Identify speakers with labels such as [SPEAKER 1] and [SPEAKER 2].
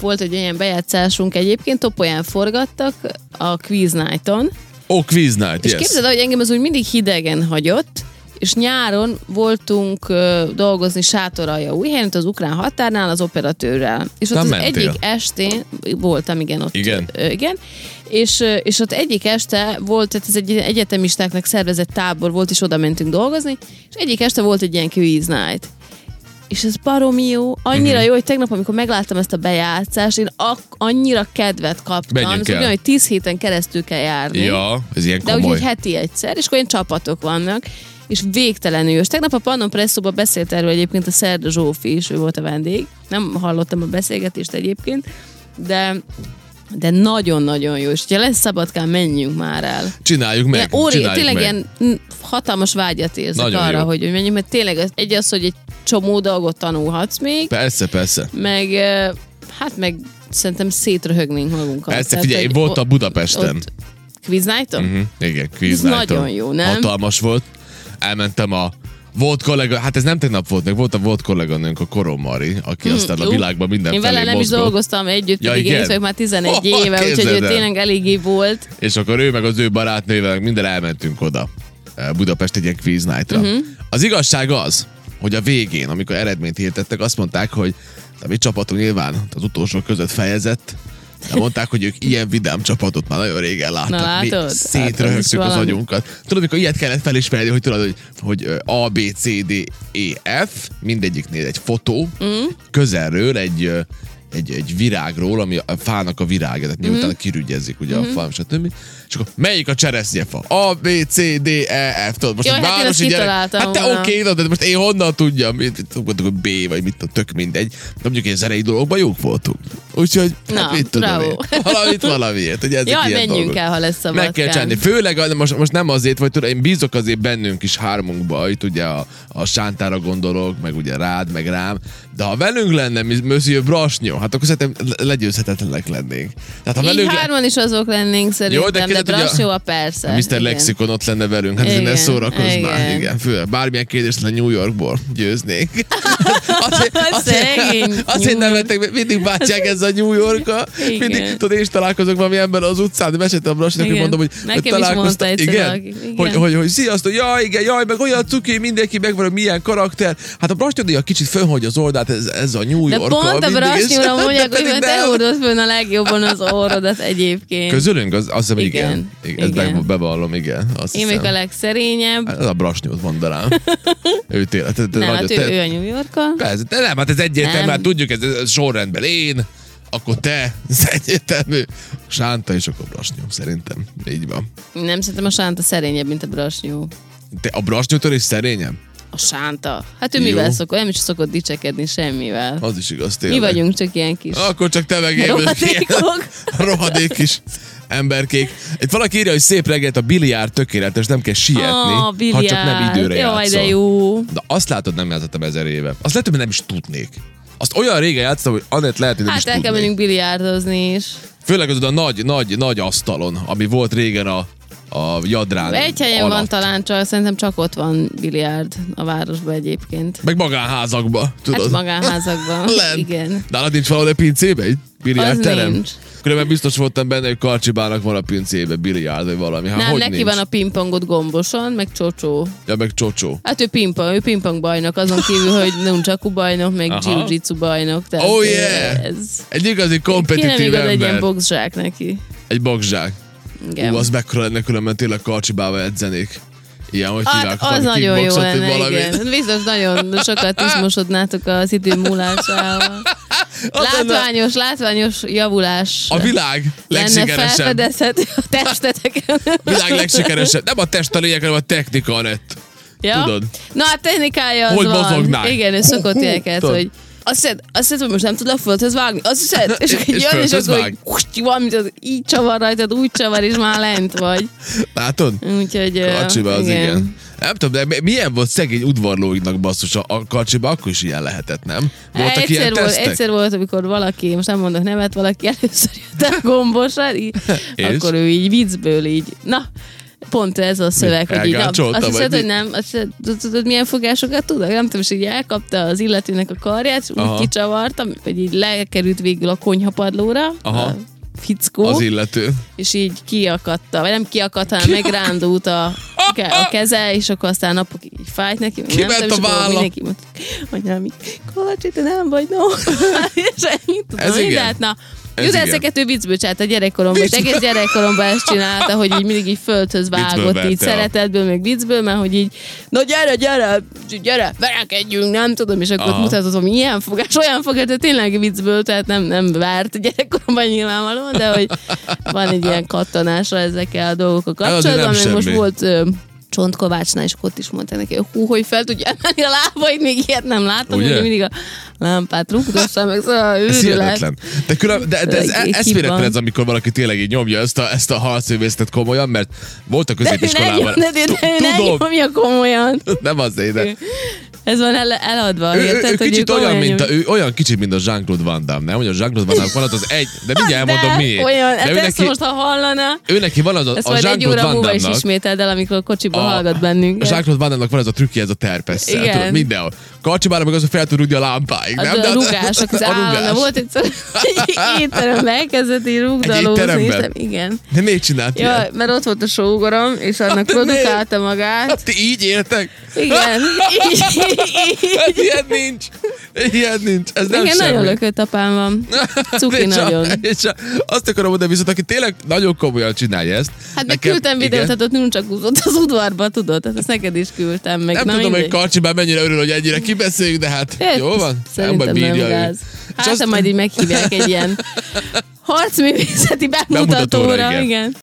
[SPEAKER 1] volt egy olyan bejátszásunk egyébként, Topolyán forgattak a Quiz Night-on,
[SPEAKER 2] Ó, oh, Quiz Night,
[SPEAKER 1] és
[SPEAKER 2] yes.
[SPEAKER 1] képzeld el, hogy engem ez úgy mindig hidegen hagyott, és nyáron voltunk ö, dolgozni sátoralja újhelyen, ott az ukrán határnál, az operatőrrel. És ott
[SPEAKER 2] Nem
[SPEAKER 1] az
[SPEAKER 2] mentél?
[SPEAKER 1] egyik estén voltam, igen, ott.
[SPEAKER 2] Igen?
[SPEAKER 1] Ö, igen. És, ö, és ott egyik este volt, tehát ez egy ilyen egyetemistáknak szervezett tábor volt, és oda mentünk dolgozni, és egyik este volt egy ilyen quiz night. És ez baromi jó, annyira
[SPEAKER 2] Mhm.
[SPEAKER 1] jó, hogy tegnap, amikor megláttam ezt a bejátszást, én ak- annyira kedvet kaptam.
[SPEAKER 2] Menjünk
[SPEAKER 1] Ez
[SPEAKER 2] el.
[SPEAKER 1] olyan, hogy 10 héten keresztül kell járni.
[SPEAKER 2] Ja, ez ilyen
[SPEAKER 1] De hát- úgyhogy
[SPEAKER 2] komoly.
[SPEAKER 1] heti egyszer, és akkor ilyen csapatok vannak, és végtelenül. És tegnap a Pannon Presszóban beszélt erről egyébként a Szerda Zsófi is, ő volt a vendég. Nem hallottam a beszélgetést egyébként, de de nagyon-nagyon jó, és ha lesz Szabadkán, menjünk már el.
[SPEAKER 2] Csináljuk meg,
[SPEAKER 1] Ilyen óri-
[SPEAKER 2] csináljuk
[SPEAKER 1] tényleg
[SPEAKER 2] meg.
[SPEAKER 1] ilyen mm, hatalmas vágyat érzek
[SPEAKER 2] Nagyon
[SPEAKER 1] arra,
[SPEAKER 2] jó.
[SPEAKER 1] hogy, hogy menjünk, mert tényleg az- egy az, hogy egy csomó dolgot tanulhatsz még,
[SPEAKER 2] Persze, persze.
[SPEAKER 1] meg eh, hát meg szerintem szétröhögnénk magunkat.
[SPEAKER 2] Persze,
[SPEAKER 1] Tehát,
[SPEAKER 2] figyelj, én
[SPEAKER 1] hogy
[SPEAKER 2] voltam
[SPEAKER 1] o-
[SPEAKER 2] Budapesten.
[SPEAKER 1] Ott, Quiz night
[SPEAKER 2] Mhm, Igen, Quiz
[SPEAKER 1] Ez
[SPEAKER 2] Night-on.
[SPEAKER 1] nagyon jó, nem?
[SPEAKER 2] Hatalmas volt. Elmentem a volt kollega, hát ez nem tegnap volt, meg volt a volt kolléganőnk, a Korom Mari, aki aztán a
[SPEAKER 1] ú,
[SPEAKER 2] világban
[SPEAKER 1] Hm, Én
[SPEAKER 2] mindenfelé
[SPEAKER 1] vele nem is
[SPEAKER 2] mozgott.
[SPEAKER 1] dolgoztam együtt, ja,
[SPEAKER 2] Ja,
[SPEAKER 1] pedig
[SPEAKER 2] igen?
[SPEAKER 1] én is vagyok már 11
[SPEAKER 2] Oh,
[SPEAKER 1] éve, úgyhogy ő
[SPEAKER 2] képzeld el.
[SPEAKER 1] tényleg eléggé volt.
[SPEAKER 2] és akkor ő meg az ő barátnővel meg minden elmentünk oda. eh, Budapest egy ilyen quiz night-ra.
[SPEAKER 1] Mhm.
[SPEAKER 2] Uh-huh. Az igazság az, hogy a végén, amikor eredményt hirdettek, azt mondták, hogy a mi csapatunk nyilván az utolsók között fejezett, de mondták, hogy ők ilyen vidám csapatot már nagyon régen láttak.
[SPEAKER 1] Na,
[SPEAKER 2] Mi
[SPEAKER 1] látod? Hát, ez is
[SPEAKER 2] szétröhögtük az
[SPEAKER 1] valami.
[SPEAKER 2] agyunkat. Tudod, amikor ilyet kellett felismerni, hogy tudod, hogy, hogy ö, A, B, C, D, E, F, mindegyiknél egy fotó, mm. közelről egy, ö, egy, egy virágról, ami a fának a virága, tehát miután
[SPEAKER 1] Mm-hmm.
[SPEAKER 2] mm. kirügyezik ugye mm. a fám, stb. És akkor melyik a cseresznyefa? A, B, C, D, E, F, tudod, most
[SPEAKER 1] Jaj,
[SPEAKER 2] egy
[SPEAKER 1] hát én
[SPEAKER 2] városi
[SPEAKER 1] ezt
[SPEAKER 2] gyerek.
[SPEAKER 1] kitaláltam
[SPEAKER 2] Hát te oké,
[SPEAKER 1] volna.
[SPEAKER 2] okay, na, de most én honnan tudjam? Mit, mit gondoltuk, hogy B, vagy mit, tudom, tök mindegy. De mondjuk ilyen zenei dologban jók voltunk. Úgyhogy, hát
[SPEAKER 1] Na,
[SPEAKER 2] mit tudom
[SPEAKER 1] bravo.
[SPEAKER 2] én. Valamit valamiért, hogy ezek
[SPEAKER 1] Jaj,
[SPEAKER 2] ilyen
[SPEAKER 1] menjünk
[SPEAKER 2] dolgok.
[SPEAKER 1] el, ha lesz szabad.
[SPEAKER 2] Meg kell csinálni. Főleg a- most, most nem azért, vagy tudod, én bízok azért bennünk is hármunkba, itt ugye a, a sántára gondolok, meg ugye rád, meg rám, de ha velünk lenne mi- Monsieur Brasnyó, hát akkor szerintem le- legyőzhetetlenek lennénk. Tehát ha
[SPEAKER 1] Így
[SPEAKER 2] velünk le-
[SPEAKER 1] hárman is azok lennénk szerintem, de, de
[SPEAKER 2] képzeld, ugye a-
[SPEAKER 1] Brassó a persze.
[SPEAKER 2] a Mr.
[SPEAKER 1] igen.
[SPEAKER 2] Hát Lexikon ott lenne velünk, hát ez
[SPEAKER 1] Igen,
[SPEAKER 2] ne szórakozz már.
[SPEAKER 1] igen.
[SPEAKER 2] Igen, fő, bármilyen kérdés lenne New Yorkból, győznék. azért,
[SPEAKER 1] Szegény.
[SPEAKER 2] azért nem vettek, mindig bátyák ez a New york
[SPEAKER 1] Igen.
[SPEAKER 2] Mindig, tudod, én is találkozok valami ember az utcán, de meséltem a Brasinak, hogy
[SPEAKER 1] Igen.
[SPEAKER 2] mondom, hogy
[SPEAKER 1] Nekem
[SPEAKER 2] hogy
[SPEAKER 1] is mondta
[SPEAKER 2] találkoztam-
[SPEAKER 1] egyszer
[SPEAKER 2] igen,
[SPEAKER 1] valaki. Igen.
[SPEAKER 2] Hogy, hogy, hogy sziasztok, jaj, igen, jaj, meg olyan cuki, mindenki megvan, hogy milyen karakter. Hát a Brasnyodi a kicsit fönhagy az oldalt, ez, ez a New
[SPEAKER 1] De
[SPEAKER 2] york
[SPEAKER 1] pont a Brassóra mondják, hogy mert te hordod fönn a legjobban az orrodat egyébként.
[SPEAKER 2] Közülünk? Az, azt hiszem, igen. igen.
[SPEAKER 1] Igen.
[SPEAKER 2] igen. Ezt
[SPEAKER 1] Igen.
[SPEAKER 2] meg- bevallom, igen. Azt
[SPEAKER 1] Én
[SPEAKER 2] hiszem.
[SPEAKER 1] vagyok a legszerényebb.
[SPEAKER 2] Hát Ez a brasnyót mondanám. ő tényleg. Te, te
[SPEAKER 1] Nem,
[SPEAKER 2] nagyon-
[SPEAKER 1] hát
[SPEAKER 2] te-
[SPEAKER 1] ő, ő a New Yorka.
[SPEAKER 2] Persze, de nem, hát ez egyértelmű,
[SPEAKER 1] Nem.
[SPEAKER 2] hát tudjuk, ez, ez sorrendben én, akkor te, ez egyértelmű. Sánta és akkor brasnyó, szerintem. Így van.
[SPEAKER 1] Nem, szerintem a Sánta szerényebb, mint a Brassó.
[SPEAKER 2] Te a brasnyótól is szerényem?
[SPEAKER 1] A Sánta. Hát ő
[SPEAKER 2] Jó.
[SPEAKER 1] mivel szokott? Nem is szokott dicsekedni semmivel.
[SPEAKER 2] Az is igaz,
[SPEAKER 1] Mi
[SPEAKER 2] tényleg.
[SPEAKER 1] vagyunk csak ilyen kis
[SPEAKER 2] Akkor csak te meg én.
[SPEAKER 1] rohadékok.
[SPEAKER 2] Rohadék is emberkék. Itt valaki írja, hogy szép reggelt, a biliárd tökéletes, nem kell sietni,
[SPEAKER 1] Ah,
[SPEAKER 2] ha csak nem
[SPEAKER 1] biliárd.
[SPEAKER 2] időre
[SPEAKER 1] Jaj,
[SPEAKER 2] játszol.
[SPEAKER 1] de jó.
[SPEAKER 2] De azt látod, nem játszottam ezer éve. Azt lehet, hogy nem is tudnék. Azt olyan régen játszottam, hogy annet lehet, hogy nem
[SPEAKER 1] Hát
[SPEAKER 2] is
[SPEAKER 1] el kell
[SPEAKER 2] tudnék.
[SPEAKER 1] mennünk biliárdozni is.
[SPEAKER 2] Főleg az a nagy, nagy, nagy asztalon, ami volt régen a, a jadrán
[SPEAKER 1] Egy helyen
[SPEAKER 2] Hát alatt.
[SPEAKER 1] van talán, csak szerintem csak ott van biliárd a városban egyébként.
[SPEAKER 2] Meg magánházakba, tudod?
[SPEAKER 1] Hát magánházakban.
[SPEAKER 2] Lent.
[SPEAKER 1] Igen.
[SPEAKER 2] Nálad nincs valahol egy pincébe egy biliárdterem?
[SPEAKER 1] nincs.
[SPEAKER 2] Különben biztos voltam benne, hogy Karcsibának van a pincébe biliárd, vagy valami. Hát
[SPEAKER 1] Nem,
[SPEAKER 2] hogy
[SPEAKER 1] neki
[SPEAKER 2] nincs?
[SPEAKER 1] van a pingpongot gomboson, meg csocsó.
[SPEAKER 2] Ja, meg csocsó.
[SPEAKER 1] Hát ő pingpong, ő pingpong bajnok, azon kívül, hogy nunchaku bajnok, meg
[SPEAKER 2] Aha.
[SPEAKER 1] jiu-jitsu bajnok. Tehát
[SPEAKER 2] Oh,
[SPEAKER 1] ö,
[SPEAKER 2] yeah!
[SPEAKER 1] Ez...
[SPEAKER 2] Egy igazi
[SPEAKER 1] Kéne még
[SPEAKER 2] kompetitív
[SPEAKER 1] oda egy ilyen
[SPEAKER 2] ember.
[SPEAKER 1] boxzsák neki.
[SPEAKER 2] Egy bogzsák.
[SPEAKER 1] Igen.
[SPEAKER 2] Ú, az mekkora lenne különben tényleg karcsibával edzenék. Ilyen, hogy
[SPEAKER 1] Hát,
[SPEAKER 2] hívják,
[SPEAKER 1] az
[SPEAKER 2] valami
[SPEAKER 1] nagyon jó
[SPEAKER 2] kickboxot, vagy
[SPEAKER 1] lenne,
[SPEAKER 2] valamit.
[SPEAKER 1] igen. Biztos nagyon sokat izmosodnátok az idő múlásával.
[SPEAKER 2] Az lenne
[SPEAKER 1] Látványos, látványos javulás.
[SPEAKER 2] A világ
[SPEAKER 1] lenne
[SPEAKER 2] legsikeresebb.
[SPEAKER 1] felfedezhető a testeteken.
[SPEAKER 2] világ legsikeresebb. Nem a test a lényeg, hanem a technika, Anett.
[SPEAKER 1] ja?
[SPEAKER 2] tudod.
[SPEAKER 1] Na, a technikája az
[SPEAKER 2] Hogy
[SPEAKER 1] van.
[SPEAKER 2] mozognál?
[SPEAKER 1] Igen, ő szokott
[SPEAKER 2] Hú, hú,
[SPEAKER 1] ilyeneket,
[SPEAKER 2] tudod.
[SPEAKER 1] hogy azt hiszed, azt hiszed, hogy most nem tudlak földhöz vágni? Azt hiszed? És, akkor jön,
[SPEAKER 2] És
[SPEAKER 1] és
[SPEAKER 2] földhöz
[SPEAKER 1] akkor
[SPEAKER 2] vág.
[SPEAKER 1] így, hust, valamit az így csavar rajtad, úgy csavar, és már lent vagy.
[SPEAKER 2] Látod?
[SPEAKER 1] Úgyhogy... ö,
[SPEAKER 2] Kacsiba az igen. igen. Nem tudom, de mi- milyen volt szegény udvarlóinknak basszus a- a kacsiba, akkor is ilyen lehetett, nem? Voltak
[SPEAKER 1] egyszer,
[SPEAKER 2] ilyen
[SPEAKER 1] volt,
[SPEAKER 2] tesztek?
[SPEAKER 1] egyszer volt, amikor valaki, most nem mondok nevet, valaki először jött a gombosra, így,
[SPEAKER 2] És?
[SPEAKER 1] akkor ő így viccből így, na, pont ez a szöveg,
[SPEAKER 2] Mi?
[SPEAKER 1] hogy így, na, azt
[SPEAKER 2] Elgáncsolta,
[SPEAKER 1] hiszed,
[SPEAKER 2] vagy
[SPEAKER 1] hogy nem, azt hiszed, tudod, tudod, milyen fogásokat tudok? Nem tudom, és így elkapta az illetőnek a karját, és
[SPEAKER 2] Aha.
[SPEAKER 1] úgy kicsavartam, hogy így lekerült végül a konyhapadlóra,
[SPEAKER 2] Aha.
[SPEAKER 1] a fickó,
[SPEAKER 2] Az illető.
[SPEAKER 1] és így kiakadta, vagy nem kiakadt, hanem megrándult a, a keze, és akkor aztán napokig így fájt neki. meg
[SPEAKER 2] Kiment
[SPEAKER 1] nem tudom,
[SPEAKER 2] a
[SPEAKER 1] és akkor
[SPEAKER 2] válla.
[SPEAKER 1] Mindenki mondta, anyám, így, Kovács, te nem vagy, no. és ennyit tudom,
[SPEAKER 2] Ez
[SPEAKER 1] én,
[SPEAKER 2] igen.
[SPEAKER 1] de hát na,
[SPEAKER 2] Ez
[SPEAKER 1] Jut
[SPEAKER 2] igen.
[SPEAKER 1] ezeket ő viccből csinált a gyerekkoromban, és
[SPEAKER 2] Viccből.
[SPEAKER 1] egész gyerekkoromban ezt csinálta, hogy így mindig így földhöz vágott,
[SPEAKER 2] verte
[SPEAKER 1] így
[SPEAKER 2] a-
[SPEAKER 1] szeretetből, meg viccből, mert hogy így, na gyere, gyere, gyere, verekedjünk, nem tudom, és akkor
[SPEAKER 2] Aha.
[SPEAKER 1] ott mutatott, hogy ilyen fogás, olyan fogás, de tényleg viccből, tehát nem, nem várt gyerekkoromban nyilvánvalóan, de hogy van egy ilyen kattanása ezekkel a dolgokkal
[SPEAKER 2] Hát azért
[SPEAKER 1] kapcsolatban,
[SPEAKER 2] nem
[SPEAKER 1] mert most
[SPEAKER 2] semmi.
[SPEAKER 1] volt ö, Csontkovácsnál, és akkor ott is mondta neki, hogy hú, hogy fel tudja emelni a lábait, még ilyet nem láttam,
[SPEAKER 2] Ugye?
[SPEAKER 1] hogy mindig a lámpát rúgdossa, meg szóval
[SPEAKER 2] Ez
[SPEAKER 1] őrület.
[SPEAKER 2] hihetetlen. De, külön, de, de ez
[SPEAKER 1] Egy- egy
[SPEAKER 2] eszméletlen
[SPEAKER 1] hiba.
[SPEAKER 2] ez, amikor valaki tényleg így nyomja ezt a, ezt a halszővészetet komolyan, mert volt a
[SPEAKER 1] De ő ne
[SPEAKER 2] középiskolában.
[SPEAKER 1] nyomja, de ő ne
[SPEAKER 2] Tudom.
[SPEAKER 1] nyomja komolyan.
[SPEAKER 2] Nem azért, de
[SPEAKER 1] Ez van el, eladva.
[SPEAKER 2] ő, ő,
[SPEAKER 1] érted,
[SPEAKER 2] ő
[SPEAKER 1] hogy
[SPEAKER 2] kicsit olyan,
[SPEAKER 1] komolyan
[SPEAKER 2] mint a,
[SPEAKER 1] nyomja.
[SPEAKER 2] ő olyan kicsit, mint a Jean-Claude Van Damme, nem? Hogy a Jean-Claude Van Damme van ott az egy, de mindjárt
[SPEAKER 1] De
[SPEAKER 2] elmondom miért.
[SPEAKER 1] Olyan,
[SPEAKER 2] de
[SPEAKER 1] hát
[SPEAKER 2] ő
[SPEAKER 1] ezt
[SPEAKER 2] neki,
[SPEAKER 1] most, ha hallana,
[SPEAKER 2] ő neki van az a,
[SPEAKER 1] ezt
[SPEAKER 2] a
[SPEAKER 1] majd egy
[SPEAKER 2] Jean-Claude
[SPEAKER 1] óra
[SPEAKER 2] Van
[SPEAKER 1] múlva is
[SPEAKER 2] Damme-nak,
[SPEAKER 1] ismételd el, amikor a kocsiba
[SPEAKER 2] A- hát
[SPEAKER 1] hallgat
[SPEAKER 2] A
[SPEAKER 1] bennünket.
[SPEAKER 2] Jean-Claude Van Damme-nak van ez a trükkje, ez a terpesszel.
[SPEAKER 1] Igen.
[SPEAKER 2] Tudod, mindenhol. Karcsibára meg az, hogy fel tud rúgni a lámpáig.
[SPEAKER 1] Az
[SPEAKER 2] nem? hát
[SPEAKER 1] a rugások, az
[SPEAKER 2] a rugás.
[SPEAKER 1] állandó. Volt egyszer egy étteremben elkezdett így
[SPEAKER 2] Egy
[SPEAKER 1] rugdalózni. és
[SPEAKER 2] étteremben?
[SPEAKER 1] nem- Igen.
[SPEAKER 2] De miért csinált
[SPEAKER 1] Ja,
[SPEAKER 2] ilyet?
[SPEAKER 1] mert ott volt a sógorom, és annak
[SPEAKER 2] De miért?
[SPEAKER 1] produkálta magát.
[SPEAKER 2] Hát, Ti így éltek?
[SPEAKER 1] Igen. Így, így.
[SPEAKER 2] Hát ilyen nincs. Ilyen nincs. Ez nem
[SPEAKER 1] Igen,
[SPEAKER 2] semmi.
[SPEAKER 1] nagyon lökött apám van. Cuki
[SPEAKER 2] És a-
[SPEAKER 1] nagyon.
[SPEAKER 2] És a, azt akarom mondani, viszont aki tényleg nagyon komolyan csinálja ezt.
[SPEAKER 1] Hát meg
[SPEAKER 2] nekem-
[SPEAKER 1] küldtem videót,
[SPEAKER 2] igen.
[SPEAKER 1] tehát ott nem csak húzott az udvarba, tudod? Tehát ezt neked is küldtem meg.
[SPEAKER 2] Nem
[SPEAKER 1] Na,
[SPEAKER 2] tudom, hogy
[SPEAKER 1] mindegy.
[SPEAKER 2] Karcsi már mennyire örül, hogy ennyire kibeszéljük, de hát
[SPEAKER 1] Hát,
[SPEAKER 2] jó van.
[SPEAKER 1] Szerintem
[SPEAKER 2] baj,
[SPEAKER 1] nem
[SPEAKER 2] bírja ő.
[SPEAKER 1] gáz.
[SPEAKER 2] És
[SPEAKER 1] Hát,
[SPEAKER 2] azt-
[SPEAKER 1] azt... majd így meghívják egy ilyen harcművészeti bemutatóra.
[SPEAKER 2] Bemutatóra, igen.
[SPEAKER 1] igen. igen.